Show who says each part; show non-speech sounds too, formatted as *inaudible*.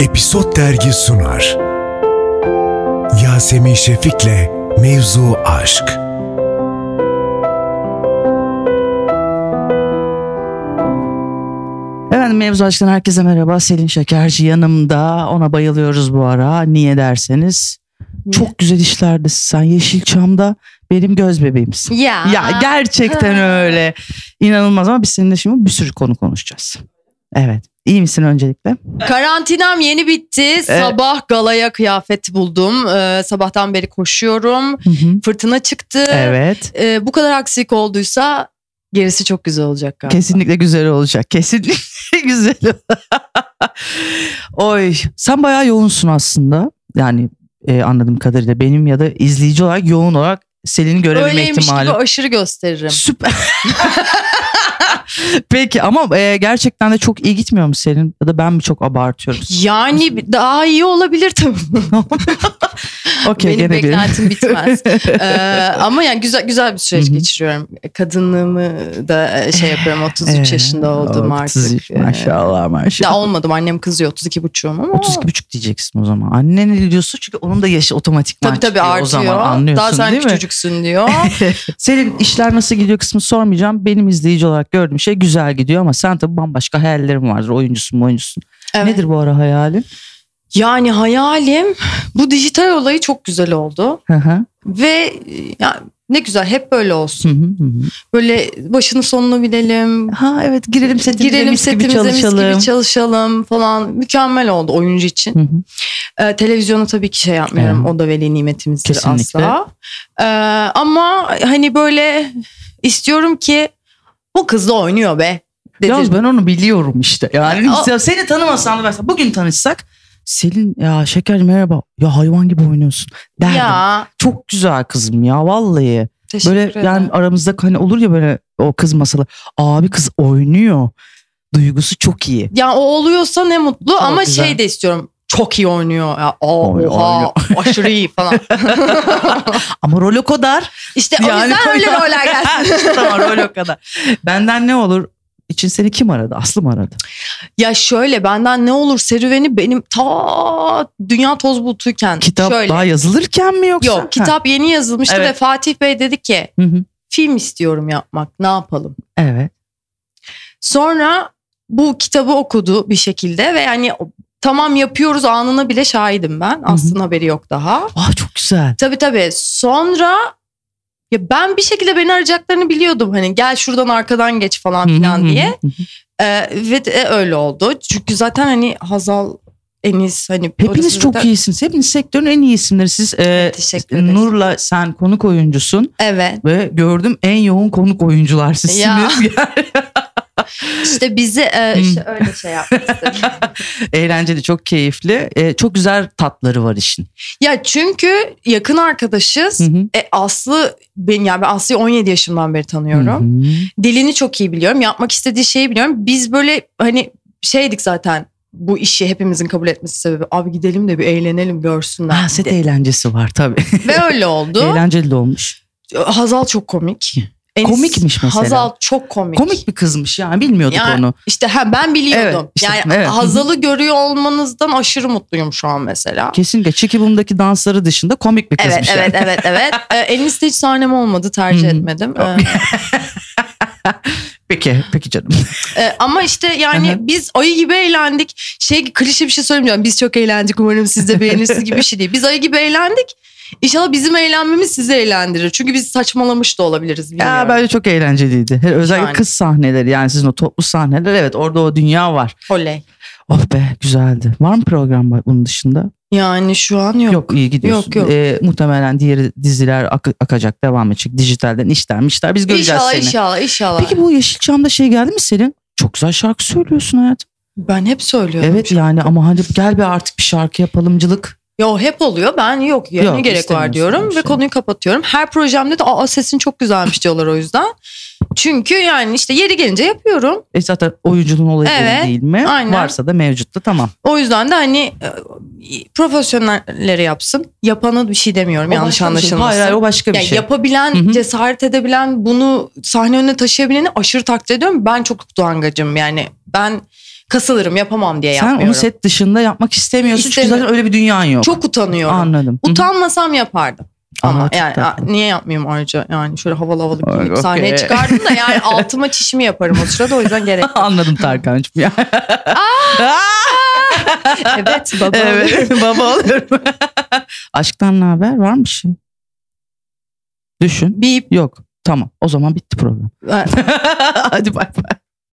Speaker 1: Episod Dergi sunar. Yasemin Şefik'le Mevzu Aşk.
Speaker 2: Efendim Mevzu Aşk'tan herkese merhaba. Selin Şekerci yanımda. Ona bayılıyoruz bu ara. Niye derseniz. Çok güzel işlerde sen Yeşilçam'da benim göz bebeğimsin.
Speaker 3: Ya.
Speaker 2: Ya *laughs* gerçekten öyle. İnanılmaz ama biz seninle şimdi bir sürü konu konuşacağız. Evet. İyi misin öncelikle?
Speaker 3: Karantinam yeni bitti. Sabah galaya kıyafet buldum. Ee, sabahtan beri koşuyorum.
Speaker 2: Hı hı.
Speaker 3: Fırtına çıktı.
Speaker 2: Evet.
Speaker 3: Ee, bu kadar aksilik olduysa gerisi çok güzel olacak galiba.
Speaker 2: Kesinlikle güzel olacak. Kesinlikle *laughs* güzel. Oy, sen bayağı yoğunsun aslında. Yani e, anladığım kadarıyla benim ya da izleyici olarak yoğun olarak Selin'i görebilme
Speaker 3: Öyleymiş
Speaker 2: ihtimali.
Speaker 3: gibi aşırı gösteririm.
Speaker 2: Süper. *laughs* Peki ama e, gerçekten de çok iyi gitmiyor mu Selin? Ya da ben mi çok abartıyorum? *laughs*
Speaker 3: Yani bir- daha iyi olabilir tabii.
Speaker 2: Okey
Speaker 3: Benim
Speaker 2: gene bir. *laughs*
Speaker 3: beklentim bitmez. Ee, ama yani güzel güzel bir süreç
Speaker 2: Hı hı.
Speaker 3: geçiriyorum. Kadınlığımı da
Speaker 2: *laughs*
Speaker 3: şey yapıyorum. 33
Speaker 2: Ee,
Speaker 3: yaşında oldum artık.
Speaker 2: 33, Maşallah maşallah.
Speaker 3: Daha olmadım annem kızıyor 32 buçuğum ama.
Speaker 2: 32 buçuk diyeceksin o zaman. Annen ne diyorsun çünkü onun da yaşı otomatikman
Speaker 3: Tabii tabii
Speaker 2: çıkıyor
Speaker 3: artıyor.
Speaker 2: o zaman anlıyorsun
Speaker 3: Daha sen
Speaker 2: değil mi? *laughs*
Speaker 3: küçücüksün diyor.
Speaker 2: Senin işler nasıl gidiyor kısmı sormayacağım. Benim izleyici olarak gördüğüm şey güzel gidiyor ama sen tabii bambaşka hayallerin vardır. Oyuncusun oyuncusun.
Speaker 3: Evet.
Speaker 2: Nedir bu ara hayalin?
Speaker 3: Yani hayalim bu dijital olayı çok güzel oldu.
Speaker 2: Hı hı,
Speaker 3: Ve e, yani ne güzel hep böyle
Speaker 2: hı
Speaker 3: olsun.
Speaker 2: hı, hı hı.
Speaker 3: Böyle başını sonunu bilelim.
Speaker 2: ha evet girelim setimize
Speaker 3: Girelim
Speaker 2: mis gibi
Speaker 3: setimize mis
Speaker 2: çalışalım.
Speaker 3: gibi çalışalım falan. Mükemmel oldu oyuncu için.
Speaker 2: Hı hı.
Speaker 3: Ee, televizyonu tabii ki şey yapmıyorum. O da veli nimetimizdir
Speaker 2: Kesinlikle.
Speaker 3: asla. Ee, ama hani böyle istiyorum ki bu kız da oynuyor be. Dedir.
Speaker 2: Yalnız ben onu biliyorum işte. Yani
Speaker 3: O-
Speaker 2: ya seni tanımasam da mesela bugün tanışsak Selin ya şeker merhaba ya hayvan gibi oynuyorsun derdim.
Speaker 3: ya
Speaker 2: Çok güzel kızım ya vallahi.
Speaker 3: teşekkür
Speaker 2: Böyle
Speaker 3: ederim.
Speaker 2: yani aramızda hani olur ya böyle o kız masalı. Abi kız oynuyor. Duygusu çok iyi.
Speaker 3: Ya o oluyorsa ne mutlu
Speaker 2: Ama
Speaker 3: ama
Speaker 2: güzel.
Speaker 3: şey de istiyorum. Çok iyi oynuyor. Ya, aa,
Speaker 2: Oynuyor, *laughs*
Speaker 3: oha, aşırı iyi falan.
Speaker 2: Ama rol o kadar.
Speaker 3: İşte o
Speaker 2: Yani
Speaker 3: yüzden öyle
Speaker 2: *laughs*
Speaker 3: roller gelsin.
Speaker 2: tamam rol o kadar. Benden ne olur? İçin seni kim aradı? Aslı mı aradı?
Speaker 3: ya şöyle benden ne olur serüveni benim ta dünya toz bulutuyken.
Speaker 2: Kitap
Speaker 3: şöyle.
Speaker 2: daha yazılırken mi yoksa?
Speaker 3: Yok kitap yeni yazılmıştı
Speaker 2: Evet.
Speaker 3: ve Fatih Bey dedi ki
Speaker 2: Hı hı.
Speaker 3: film istiyorum yapmak ne yapalım.
Speaker 2: Evet.
Speaker 3: Sonra bu kitabı okudu bir şekilde ve yani tamam yapıyoruz anına bile şahidim ben. Aslında haberi yok daha.
Speaker 2: Ah çok güzel.
Speaker 3: Tabii tabii. Sonra ya ben bir şekilde beni arayacaklarını biliyordum. Hani gel şuradan arkadan geç falan
Speaker 2: Hı hı
Speaker 3: filan
Speaker 2: hı
Speaker 3: diye.
Speaker 2: hı hı.
Speaker 3: Ee, ve de öyle oldu. Çünkü zaten hani Hazal, Enis hani
Speaker 2: Hepiniz
Speaker 3: orası
Speaker 2: çok
Speaker 3: zaten-
Speaker 2: iyisiniz. Hepiniz sektörün en iyi isimleri. Siz e,
Speaker 3: Teşekkür ederiz.
Speaker 2: Nur'la sen konuk oyuncusun
Speaker 3: Evet.
Speaker 2: ve gördüm en yoğun konuk oyuncular sizsiniz. *laughs*
Speaker 3: İşte bizi e,
Speaker 2: Hmm.
Speaker 3: işte öyle şey yapmıştı.
Speaker 2: *laughs* Eğlenceli, çok keyifli. E, çok güzel tatları var işin.
Speaker 3: ya çünkü yakın arkadaşız.
Speaker 2: Hı hı.
Speaker 3: E, Aslı ben yani ben Aslı'yı 17 yaşımdan beri tanıyorum.
Speaker 2: Hı hı.
Speaker 3: dilini çok iyi biliyorum. Yapmak istediği şeyi biliyorum. Biz böyle hani şeydik zaten bu işi hepimizin kabul etmesi sebebi. Abi gidelim de bir eğlenelim görsünler.
Speaker 2: Ha, set eğlencesi var tabii.
Speaker 3: Ve öyle oldu.
Speaker 2: Eğlenceli de olmuş.
Speaker 3: Hazal çok komik. Enis-
Speaker 2: Komikmiş mesela.
Speaker 3: Hazal çok komik.
Speaker 2: Komik bir kızmış yani bilmiyorduk
Speaker 3: Yani-
Speaker 2: onu.
Speaker 3: İşte ha, ben biliyordum.
Speaker 2: Evet, işte,
Speaker 3: yani
Speaker 2: evet.
Speaker 3: Hazal'ı görüyor olmanızdan aşırı mutluyum şu an mesela.
Speaker 2: Kesinlikle Çekibum'daki dansları dışında komik bir
Speaker 3: Evet,
Speaker 2: kızmış yani.
Speaker 3: evet, evet,
Speaker 2: *laughs*
Speaker 3: evet, Ee, Enis'te hiç sahnem olmadı,
Speaker 2: Hı
Speaker 3: tercih
Speaker 2: hı.
Speaker 3: etmedim. Ee,
Speaker 2: Peki, peki canım.
Speaker 3: Ee, ama işte yani
Speaker 2: Hı hı.
Speaker 3: biz ayı gibi eğlendik. Şey klişe bir şey söylemeyeceğim. Biz çok eğlendik umarım siz de beğenirsiniz gibi bir şey değil. Biz ayı gibi eğlendik. İnşallah bizim eğlenmemiz sizi eğlendirir. Çünkü biz saçmalamış da olabiliriz. Bilmiyorum.
Speaker 2: ya bence çok eğlenceliydi. Hele Özellikle
Speaker 3: Yani.
Speaker 2: kız sahneleri yani sizin o toplu sahneler evet orada o dünya var.
Speaker 3: Oley.
Speaker 2: Oh be güzeldi. Var mı program var bunun dışında?
Speaker 3: Yani şu an yok.
Speaker 2: Yok, iyi gidiyorsun.
Speaker 3: Yok, yok.
Speaker 2: Ee, muhtemelen diğer diziler ak- akacak devam edecek. Dijitalden işler mişler biz göreceğiz
Speaker 3: inşallah
Speaker 2: seni.
Speaker 3: inşallah inşallah.
Speaker 2: Peki bu Yeşilçam'da şey geldi mi senin? Çok güzel şarkı söylüyorsun hayatım.
Speaker 3: ben hep söylüyorum.
Speaker 2: Evet yani ama hadi gel bir artık bir şarkı yapalımcılık.
Speaker 3: Yo hep oluyor. Ben yok ya ne
Speaker 2: Yok,
Speaker 3: gerek
Speaker 2: istemiyorsun
Speaker 3: var diyorum
Speaker 2: öyle
Speaker 3: ve
Speaker 2: şey.
Speaker 3: konuyu kapatıyorum. Her projemde de aa sesin çok güzelmiş diyorlar o yüzden. Çünkü yani işte yeri gelince yapıyorum.
Speaker 2: E zaten oyunculuğun olayı bu
Speaker 3: Evet,
Speaker 2: değil mi?
Speaker 3: aynen.
Speaker 2: Varsa da mevcutta tamam.
Speaker 3: O yüzden de hani e, profesyonelleri yapsın. Yapana bir şey demiyorum
Speaker 2: O
Speaker 3: yanlış
Speaker 2: başka bir şey.
Speaker 3: anlaşılmasın.
Speaker 2: Hayır hayır o başka bir
Speaker 3: Yani
Speaker 2: şey.
Speaker 3: Yapabilen,
Speaker 2: Hı hı.
Speaker 3: cesaret edebilen, bunu sahne önüne taşıyabileni aşırı takdir ediyorum. Ben çok utangacım yani. Ben kasılırım yapamam diye
Speaker 2: Sen
Speaker 3: yapmıyorum.
Speaker 2: onu set dışında yapmak istemiyorsun çünkü
Speaker 3: İstemiyorum.
Speaker 2: zaten öyle bir dünyan yok.
Speaker 3: Çok utanıyorum.
Speaker 2: Anladım. Hı hı.
Speaker 3: Utanmasam yapardım.
Speaker 2: Aa,
Speaker 3: Ama
Speaker 2: çok
Speaker 3: yani
Speaker 2: tatlı.
Speaker 3: a- niye yapmayayım ayrıca yani şöyle havalı havalı
Speaker 2: Ay,
Speaker 3: giyinip sahneye
Speaker 2: okey.
Speaker 3: çıkardım
Speaker 2: *laughs*
Speaker 3: da yani altıma çişimi yaparım o sırada o yüzden gerek yok.
Speaker 2: Anladım Tarkan'cığım ya.
Speaker 3: *laughs*
Speaker 2: *laughs*
Speaker 3: Evet baba.
Speaker 2: evet *laughs* baba oluyorum. Aşktan ne haber? Var mı bir şey? Düşün.
Speaker 3: Bip. *laughs*
Speaker 2: Yok. Tamam. O zaman bitti program. Hadi bay bay.